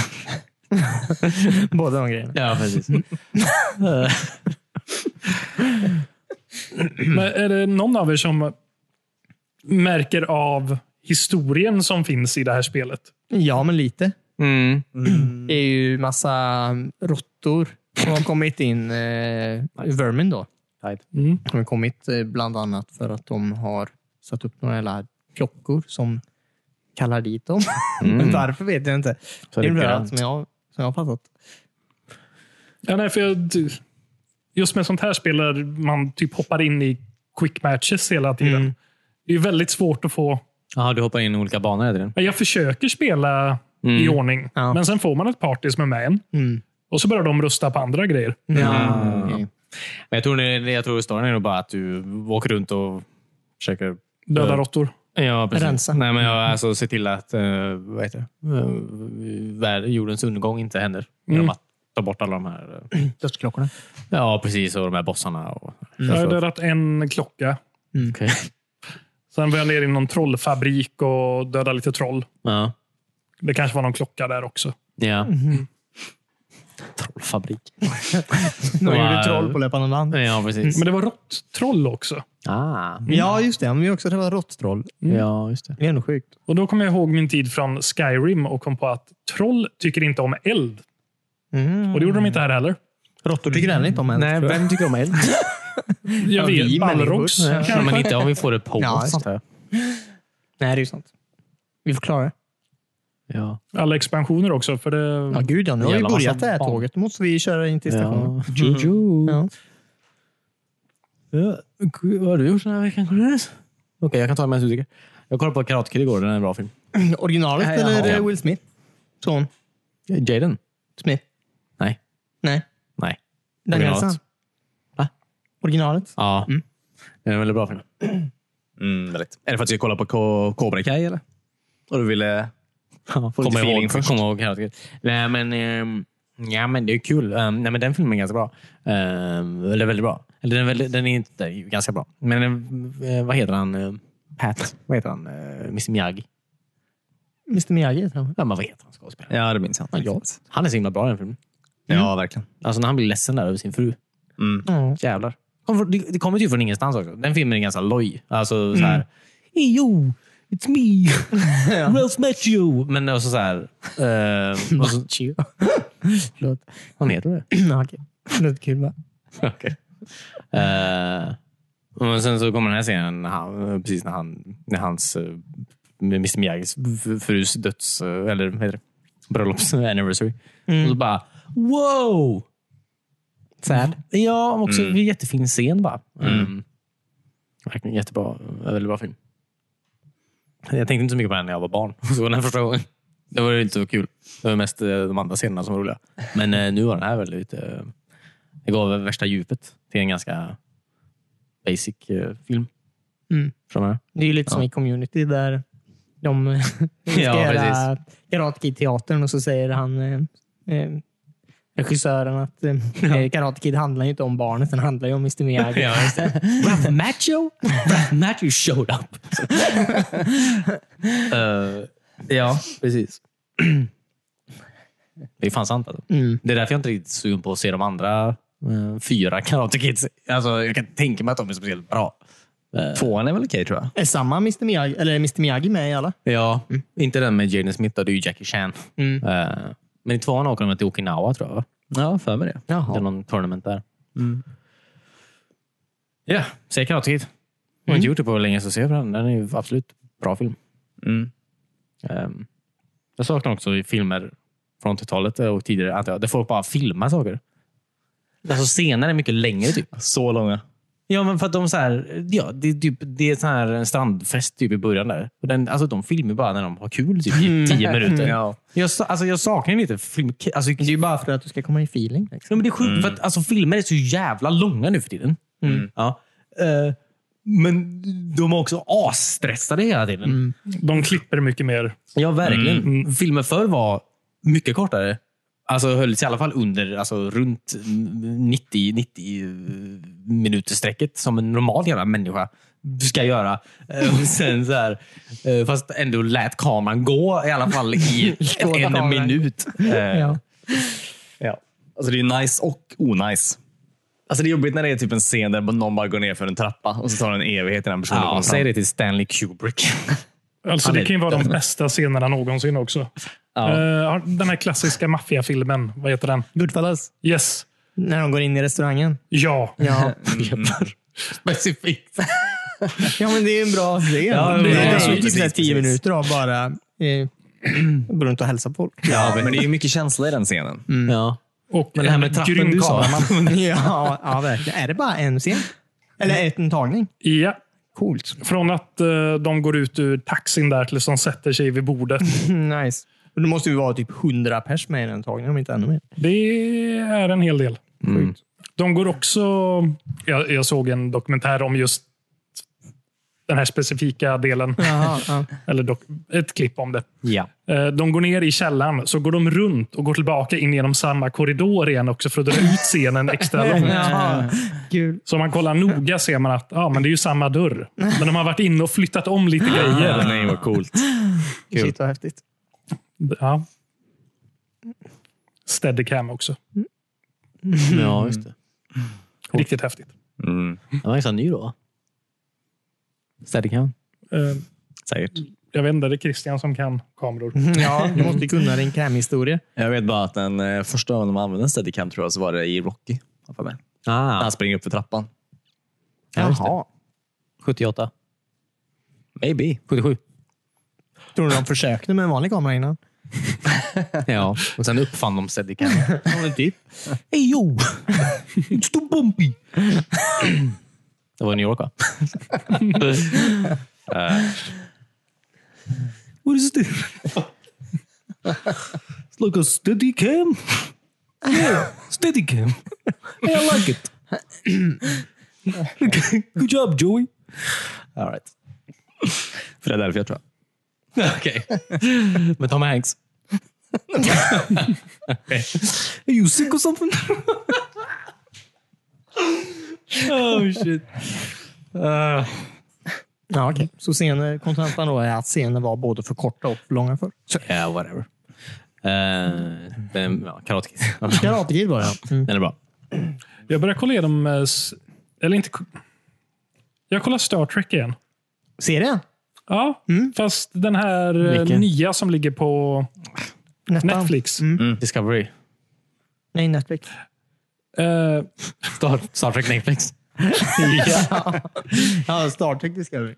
Båda de grejerna. Ja, precis. Men är det någon av er som märker av historien som finns i det här spelet? Ja, men lite. Mm. Det är ju massa råttor som har kommit in. Eh, vermin då. Mm. De har kommit eh, bland annat för att de har satt upp några jävla klockor som kallar dit dem. Men varför vet jag inte. Mm. Så det det är är bra grönt. som jag, som jag har fattat. Ja, nej, för jag, just med sånt här spel Mm. där man typ hoppar in i quick matches hela tiden. Det är väldigt svårt att få Jaha, du hoppar in i olika banor? Är det det? Men Jag försöker spela i Mm. ordning, Ja. men sen får man ett party som är med en. Mm. Och så börjar de rusta på andra grejer. Ja, okej. Men jag tror, det- jag tror storyn är nog bara att du åker runt och försöker Döda Ja. råttor. Ja, precis. Rensa. Nej, men jag, alltså, se till att eh, vad heter det? Eh, värld- jordens undergång inte händer genom att ta bort alla de här... eh, Dödsklockorna. Ja, precis. Och de här bossarna. Och, Jag har dödat en klocka. Mm. Okej. Sen var jag ner i någon trollfabrik och dödade lite troll. Ja. Det kanske var någon klocka där också. ja. Trollfabrik. De Ja. gjorde troll på löpande band. Ja, precis. Men det var rått-troll också. Ah. Ja, just det. Men vi har också träffat råttroll. Ja, just det. Det är ändå sjukt. Och Då kommer jag ihåg min tid från Skyrim och kom på att troll tycker inte om eld. Mm. Och det gjorde de inte här heller. Råttor tycker heller inte om eld. tror jag. tycker om eld? Jag vi vet, människor. Balrogs eh, Ja, kanske. men inte om vi får det på Ja, oss. just antar jag. Nej, det är ju sant. Vi får klara det. Ja. Alla expansioner också. För det, Ja, gud ja. Nu har vi Jävla massa börjat det här barn. tåget. Nu måste vi köra in till stationen. Juju. Ja. Ja, gud, Vad har du gjort den här veckan? Cornelius? Okej, jag kan ta det medan du dricker. Jag kollade på Karate Kid igår. Den är en bra film. Originalet Ja, ja, eller ja. Will Smith? Son? Jaden? Smith? Nej. Nej. Nej. Danielsson? Originalet. Va? Originalet? Ja. Mm. Det är en väldigt bra film. Mm, väldigt. Är det för att vi kollar på Ko- Cobra Kai eller? Och du ville... lite Kommer feeling ihåg, först. kom ihåg Karate Kid. Nej, men, ehm, ja, men det är kul. Ehm, nej, men den filmen är ganska bra. Um, eller väldigt bra. Eller den, är väldigt, den är inte ganska bra. Men eh, vad heter han? Eh, Pat? Vad heter han? Uh, Mr Miyagi? Mr Miyagi heter han. Ja, men vad heter han skådespelaren? Ja, det minns jag. inte riktigt. Han är så himla bra i den filmen. Ja, verkligen. Alltså när han blir ledsen där över sin fru. Mm. Ja. Jävlar. Kom från- Det det kommer ju typ från ingenstans också. Den filmen är ganska loj. Alltså så här. Hey yo, it's me. Ralph Macchio. Men också så här. Eh, och så, Machio. Förlåt. vad heter det? Ja, Okej. Det låter kul va? Okej. Eh, och sen så kommer den här scenen när han, precis när, han, när hans eh, Mr Miyagis f- frus döds... eh, Eller vad heter det? Bröllops anniversary. Och så bara wow! Sad. Ja, men också en jättefin scen. Bara. Mm. Verkligen jättebra. En väldigt bra film. Jag tänkte inte så mycket på den när jag var barn. Så den första gången. Det var ju inte så kul. Det var mest eh, de andra scenerna som var roliga. Men eh, nu var den här väldigt... eh, Det gav värsta djupet till en ganska basic eh, film. Mm. Förstår du vad jag menar? Det är ju lite som i community där de ska Ja, göra Karate Kid-teatern och så säger han eh, eh, regissören att eh, Karate Kid handlar ju inte om barnet, den handlar ju om Mr Miyagi. Ja, just det. Ralph Macho? Ralph Macho showed up. ja, precis. Det är fan sant. Alltså. Mm. Det är därför jag inte är riktigt sugen på att se de andra eh, fyra Karate Kids. Alltså, jag kan tänka mig att de är speciellt bra. Eh, Tvåan är väl okej tror jag. Är samma Mr Miyagi, eller är Mr Miyagi med i alla? Ja, inte den med Jaden Smith. Då, det är ju Jackie Chan. Mm. Eh, men i tvåan åker de till Okinawa, tror jag. va? Ja, för mig det. Det är någon tournament där. Ja, se Karate Kid. Jag har inte gjort det på länge, så se på den. Den är ju absolut bra film. Mm. Ehm, jag saknar också i filmer från 80-talet och tidigare, antar jag, där folk bara filmar saker. Alltså scener är mycket längre. typ. Så långa. Ja, men för att de så här, ja, det, är typ, det är så här en strandfest typ i början. där. Och den, alltså, de filmar bara när de har kul typ, i tio minuter. Ja. jag, sa- alltså, jag saknar lite film. Alltså, Mm. Det är ju bara för att du ska komma i feeling. Liksom. Ja, men det är sjukt, för att alltså, filmer är så jävla långa nu för tiden. Mm. Ja. Eh, men de är också asstressade hela tiden. De klipper mycket mer. Ja, verkligen. Filmer förr var mycket kortare. Alltså höll sig i alla fall under, alltså runt 90-90 minuterstrecket som en normal jävla människa ska göra. Eh, Och sen så här, eh, fast ändå lät kameran gå i alla fall i Båda en kameran. minut. Eh, Ja. Ja. Alltså det är nice och onajs. Alltså det är jobbigt när det är typ en scen där någon bara går ner för en trappa och så tar det en evighet innan personen Ja, kommer säg fram. det till Stanley Kubrick. Alltså, Han det är- kan ju vara de bästa scenerna någonsin också. Eh, den här klassiska maffiafilmen. Vad heter den? Goodfellas. Yes. När de går in i restaurangen. Ja. Ja, Specifikt. ja men det är en bra scen. Ja, det ja, är precis, ju typ sådär precis. tio minuter av bara eh, gå runt och hälsa på folk. Ja, men det är ju mycket känsla i den scenen. Ja. Och Men det här med en trappen grym du sa. kameraman. Mm. ja, ja, verkligen. Är det bara en scen? Eller en tagning? Ja. Coolt. Från att eh, de går ut ur taxin där tills de sätter sig vid bordet. nice. Och Då måste vi vara typ 100 pers med i den tagningen, om inte ännu mer. Det är en hel del. Mm. De går också... Jag, jag såg en dokumentär om just den här specifika delen. Jaha, ja. Eller dok, ett klipp om det. Ja. Eh, De går ner i källaren, så går de runt och går tillbaka in genom samma korridor igen också för att dra ut scenen extra långt. Jaha. Kul. Så om man kollar noga ser man att ja, men det är ju samma dörr. Men de har varit inne och flyttat om lite grejer. Nej, vad coolt. Kul. Shit vad häftigt. Ja. Steadicam också. ja, just det. Riktigt häftigt. Mm. Den var ganska ny då. Steadicam. Eh, Säkert. Jag vet inte, det är Christian som kan kameror. Mhm. Ja, du måste kunna din krämhistoria. Jag vet bara att den eh, första gången de använde steadicam tror jag så var det i Rocky. har jag för mig. När Ah, Han springer upp för trappan. Ja, just det. Jaha. 78. Maybe. 77. Tror du de försökte med en vanlig kamera innan? Ja, och sen uppfann de Steadicam. ja, men typ. Ey yo! It's too bumpy! det var i New York va? Eh. What is this? It's like a Steadicam. Yeah, Steadicam. Hey, I like it. Okay, Good job Joey. All right. För det är därför jag tror. Okej. Men Tom Hanks. Are you sick or something? oh shit. Uh, Ja, okej. Så scener, kontentan då är att scener var både för korta och för långa för. yeah, whatever. Eh, Uh, den, ja, Karate Kid. Karate Kid var det. ja. Mm. den är bra. Jag börjar kolla igenom... eh, s- Eller inte... ko- Jag kollar Star Trek igen. Serien? Ja, fast den här eh, Mm. Vilken? nya som ligger på Nettan. Netflix. Mm. Discovery. Nej, Netflix. Eh, Star, Star Trek Netflix. Ja, Star Trek Discovery.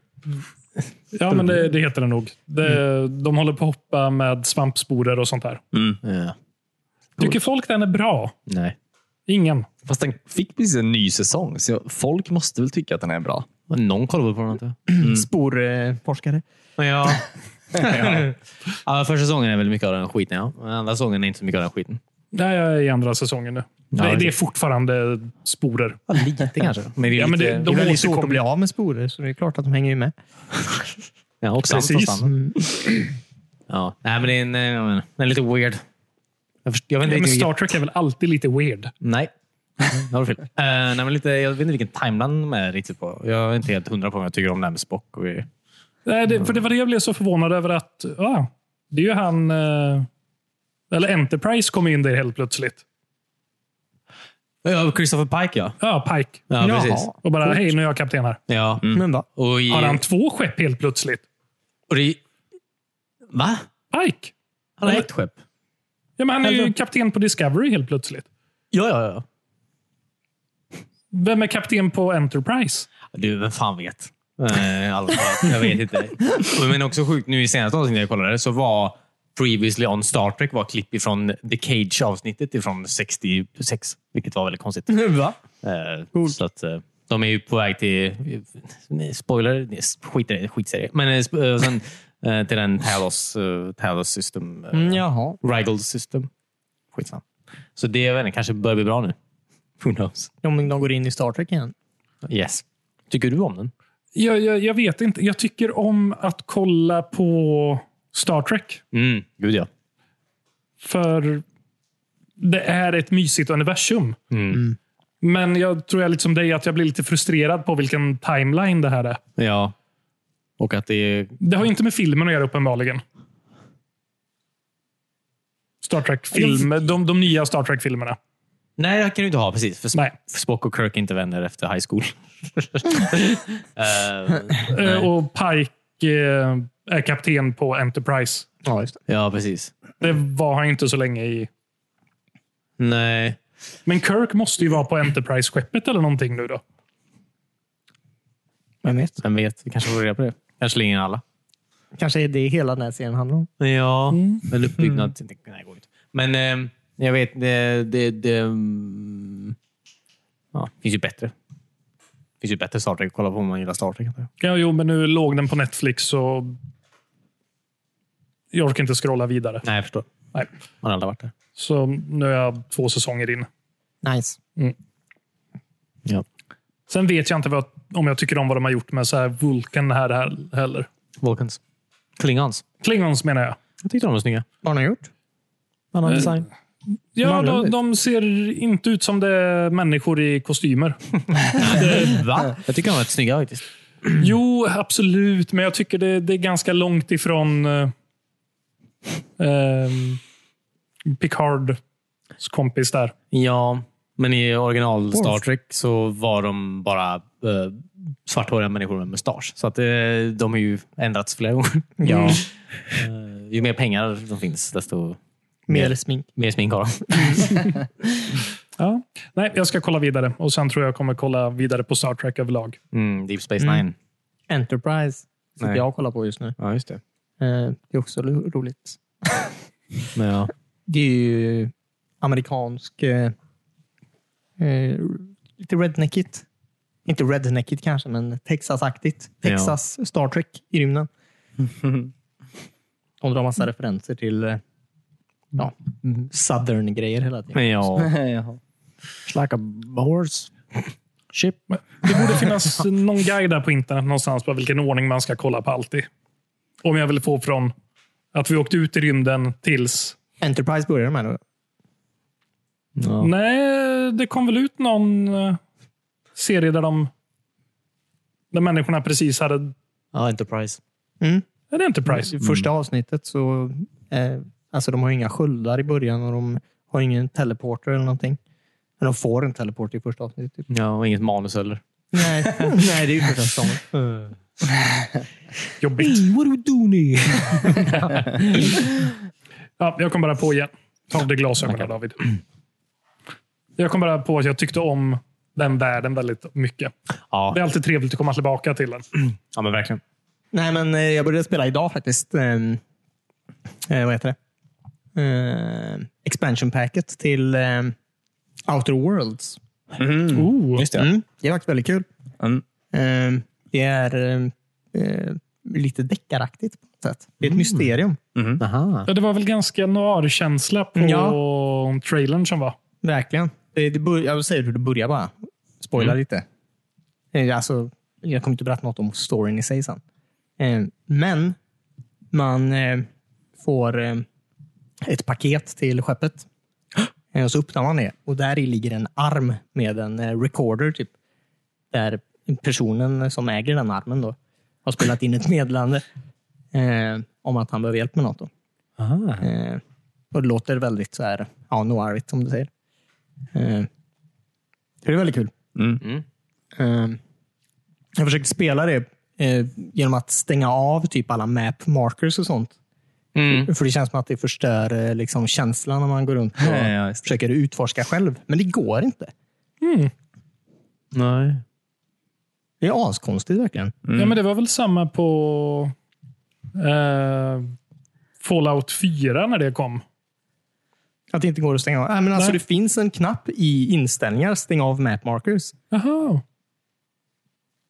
ja, men det, det heter den nog. Det, De håller på att hoppa med svampsporer och sånt där. Ja, Tycker folk den är bra? nej. Ingen. Fast den fick precis en ny säsong, så folk måste väl tycka att den är bra. Men Någon kollar väl på den inte? Sporforskare. Ja. ja. ja. Första säsongen är väl mycket av den skiten. Ja. Men Andra säsongen är inte så mycket av den skiten. Nej, jag är i andra säsongen nu. det, det är fortfarande sporer. Ja, lite kanske. Men det är Ja, men lite... det- Det är De väldigt svårt att återkommer. bli av med sporer, så det är klart att de hänger ju med. Ja, och sant Precis. och sant. Ja, nej, men det är en, eh, jag menar, den är lite weird. Jag, först, jag vet inte Men riktigt Star Trek är väl alltid lite weird. vilken- Nej. Jag har du fel. Eh, nej, men lite, jag vet inte vilken timeline de är riktigt på. Jag är inte helt hundra på om jag tycker om det här med Spock. Och grejer. Nej, det, för det var det jag blev så förvånad över att ja, det är ju han... eh, Eller Enterprise kom in där helt plötsligt. ja, Christopher Pike, ja. Ja, Pike. Ja, Jaha. precis. Mm. Och bara, hej, nu är jag kapten här. Ja. Men va? Och i, Har han två skepp helt plötsligt? och det, va? Pike? Han har ett skepp? Ja, men han är ju Eller- kapten på Discovery helt plötsligt. Ja, ja, ja. Vem är kapten på Enterprise? Du, vem fan vet? Eh, Alla, jag vet inte. Men också sjukt, nu i senaste avsnittet jag kollade så var Previously on Star Trek var klipp ifrån The Cage-avsnittet ifrån 66, vilket var väldigt konstigt. va? Eh, Så att, eh, de är ju på väg till... nej, Spoiler? nej, Skit i det. Skitserie. Men eh, sp- eh, sen, eh, till den Talos, eh, Talos system. eh, Mm, jaha. Rigel system. Skitsamma. Så det jag vet inte, kanske börjar bli bra nu. Who knows? Om de går in i Star Trek igen. Yes. Tycker du om den? Jag, jag, jag vet inte. Jag tycker om att kolla på Star Trek. Mm, gud ja. För det är ett mysigt universum. Mm. Men jag tror jag liksom är lite som dig, att jag blir lite frustrerad på vilken timeline det här är. Ja. Och att det är... Det har ju inte med filmen att göra uppenbarligen. Star Trek-filmer. De, de nya Star Trek-filmerna. Nej, det kan du inte ha. Precis. För Sp- Nej. Spock och Kirk är inte vänner efter high school. Eh, Eh, Och Pike eh, är kapten på Enterprise. Ja, just det. ja, precis. Det var han ju inte så länge i. Nej. Men Kirk måste ju vara på Enterprise-skeppet eller någonting nu då. Vem vet? Vem vet? Vi kanske får reda på det. Kanske ligger in alla. Kanske är det hela den här serien handlar om. Ja, men uppbyggnad. Mm. Nej, det går inte. Men eh, jag vet, det... det, det mm, ja, det finns ju bättre. finns ju bättre Star Trek att kolla på om man gillar Star Trek. antar jag. Ja, jo, men nu låg den på Netflix så jag orkar inte scrolla vidare. Nej, jag förstår. Nej. Man har aldrig varit där. Så nu är jag två säsonger in. Nice. Ja. Sen vet jag inte vad, om jag tycker om vad de har gjort med så här Vulcan här, här heller. Vulcans. Klingons. Klingons menar jag. Jag tyckte de var snygga. Vad har ni gjort? Annan Eh, design. Ja, Vanliga de, ut. de ser inte ut som det är människor i kostymer. Va? Jag tycker de var rätt snygga faktiskt. Jo, absolut, men jag tycker det, det är ganska långt ifrån eh, ehm, Picards kompis där. Ja, men i original Star Trek så var de bara eh, svarthåriga människor med mustasch. Så att, eh, de har ju ändrats flera gånger. Ja. Eh, ju mer pengar som finns, desto Mer smink. mer smink har de. Ja. Nej, jag ska kolla vidare och sen tror jag kommer kolla vidare på Star Trek överlag. Mm, Deep Space Nine. Enterprise. Sitter Nej. jag och kollar på just nu. Ja, just det. Eh, Det är också ro- roligt. Ja. Det är ju amerikansk... Eh, eh, lite redneckigt. Inte redneckigt kanske, men Texas-aktigt. Ja. Texas Star Trek i rymden. De drar massa referenser till eh, ja, Mm. southern-grejer hela tiden. Men ja. Jaha. It's like a horse. Ship. Det borde finnas någon guide där på internet någonstans på vilken ordning man ska kolla på allt i. Om jag vill få från att vi åkte ut i rymden tills... Enterprise börjar med nu. Ja. Nej, det kom väl ut någon eh, serie där de... Där människorna precis hade... ja, Enterprise. Mm. Är det Enterprise? I första avsnittet så... Eh, alltså de har ju inga sköldar i början och de har ingen teleporter eller någonting. Men de får en teleporter i första avsnittet. Typ. Ja, och inget manus heller. Nej. Nej, det är ju första säsongen. Jobbigt. What are we doing? Ja, jag kom bara på igen. Ta av dig glasögonen David. Jag kom bara på att jag tyckte om den världen väldigt mycket. Ja. Det är alltid trevligt att komma tillbaka till den. ja, men verkligen. Nej, men eh, jag började spela idag faktiskt. Ehm, eh, vad heter det? Ehm, expansion packet till ehm, Outer Worlds. Oh. Just det. Mm, det var faktiskt väldigt kul. Mm. Ehm, det är ehm, eh, lite deckaraktigt på något sätt. Det är ett mysterium. Aha. Ja, det var väl ganska noir-känsla på Ja. trailern som var. Verkligen. Det, det bör, jag säger hur det börjar bara. Spoila lite. Eh, Alltså, jag kommer inte berätta något om storyn i sig sen. Eh, Men man eh, får eh, ett paket till skeppet. Eh, Och så öppnar man det och där i ligger en arm med en eh, recorder. Typ, där personen som äger den armen då, har spelat in ett meddelande eh, om att han behöver hjälp med något. Då. Aha. Eh, och det låter väldigt så här, ja, noirigt som du säger. Eh, det är väldigt kul. Mm. Mm. Eh, jag försökte spela det eh, genom att stänga av typ alla map markers och sånt. För det känns som att det förstör eh, liksom, känslan när man går runt och Ja, ja, just det. försöker utforska själv. Men det går inte. Mm. Nej. Det är askonstigt verkligen. Mm. Ja, men det var väl samma på eh, Fallout 4 när det kom. Att det inte går att stänga av. Äh, men alltså, Nej. det finns en knapp i inställningar, stäng av map markers. Jaha.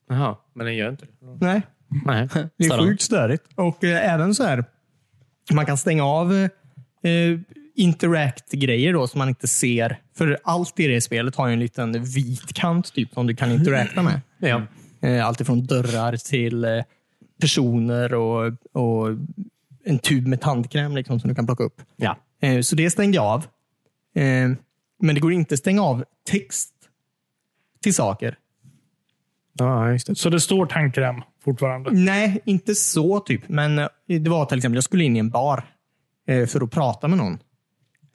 Jaha, men den gör inte det. Nej, Nej. Det är Störande. sjukt störigt. Och eh, även så här, man kan stänga av eh, eh, interact-grejer då som man inte ser. För allt i det spelet har ju en liten vit kant typ som du kan interacta med. Ja. Eh, allt ifrån dörrar till eh, personer och, och en tub med tandkräm liksom, som du kan plocka upp. Ja. Eh, Så det stängde jag av. Eh, Men det går inte att stänga av text till saker. Ja, just det. Så det står tandkräm fortfarande. Nej, inte så typ. Men eh, det var till exempel, jag skulle in i en bar eh, för att prata med någon.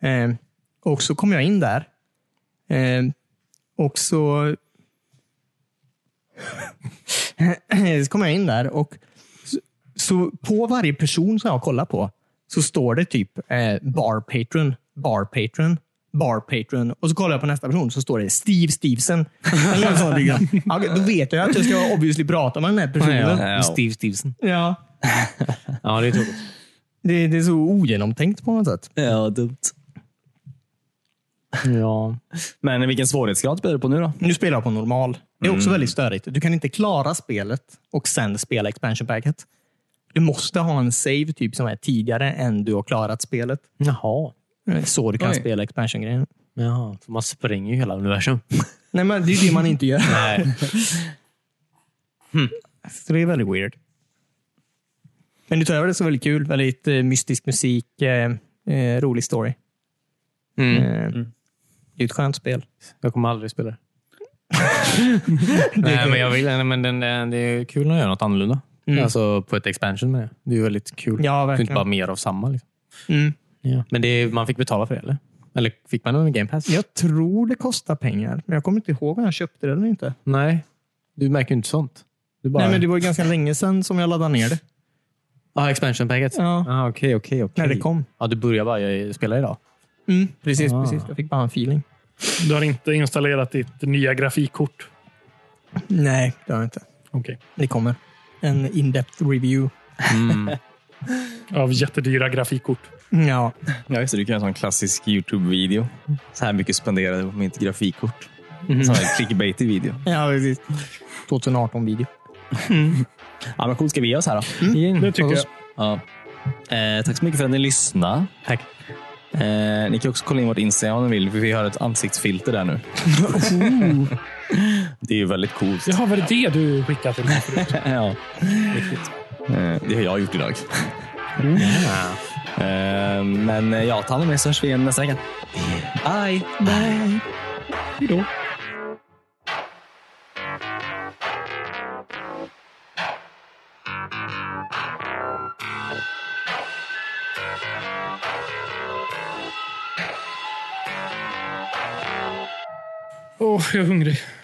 Eh, och så kom jag in där. Eh, och så... så kom jag in där och så, så på varje person som jag kollar på så står det typ eh, bar patron, bar patron, bar patron och så kollar jag på nästa person så står det Steve Stevenson. Eller någon sån rygg. Ja, Då vet jag att jag ska obviously prata med den här personen. Ja, Steve Stevenson. Ja, Ja, det är tråkigt. Eh, det, det är så ogenomtänkt på något sätt. Ja, dumt. Ja. Men vilken svårighetsgrad spelar du på nu då? Nu spelar jag på normal. Det är också väldigt störigt. Du kan inte klara spelet och sen spela expansion packet. Du måste ha en save typ som är tidigare än du har klarat spelet. eh, Jaha. Så du kan Oj. spela expansion-grejen. Jaha. För man spränger ju hela universum. Nej, men det är ju det man inte gör. Nej. Hm. Så det är väldigt weird. Men utöver det så är det väldigt kul. Väldigt eh, mystisk musik. Eh, eh, rolig story. Mm. Eh, Det är ett skönt spel. Jag kommer aldrig spela det. Nej, men jag vill. nej, Men den, den, det är kul att göra något annorlunda. Mm. Alltså på ett expansion med det. Det är ju väldigt kul. Ja, det är inte bara verkligen. mer av samma. Liksom. Mm. Ja. Men det, är- man fick betala för det, eller? Eller fick man en game pass? Jag tror det kostar pengar, men jag kommer inte ihåg om jag köpte det eller inte. Nej. Du märker ju inte sånt. Du bara... Nej, men det var ju ganska länge sedan som jag laddade ner det. ah, expansion packet? Ja. Ah, okej, okej, okej. När det kom. Ja, du börjar bara jag spelar idag. Mm, precis, Ah. precis. Jag fick bara en feeling. Du har inte installerat ditt nya grafikkort? Nej, det har jag inte. Okej. Det kommer. En in-depth review. Av jättedyra grafikkort. Ja, Ja, just det. Du kan göra en sån klassisk YouTube-video. Så här mycket spenderade jag på mitt grafikkort. Mhm. Sån här clickbaitig video. ja precis. 2018-video. Ja, men coolt. Ska vi ge oss här då? Mm. Det tycker jag. Ja. Eh, tack så mycket för att ni lyssnade. Tack. Eh, ni kan också kolla in vårt Instagram om ni vill, för vi har ett ansiktsfilter där nu. det är ju väldigt coolt. Jaha, var det det du skickade till mig förut? Ja. Eh, det har jag gjort idag. Eh, men eh, ja, ta hand om er så hörs vi igen nästa vecka. Bye! Bye. Hej då. Åh, jag är hungrig.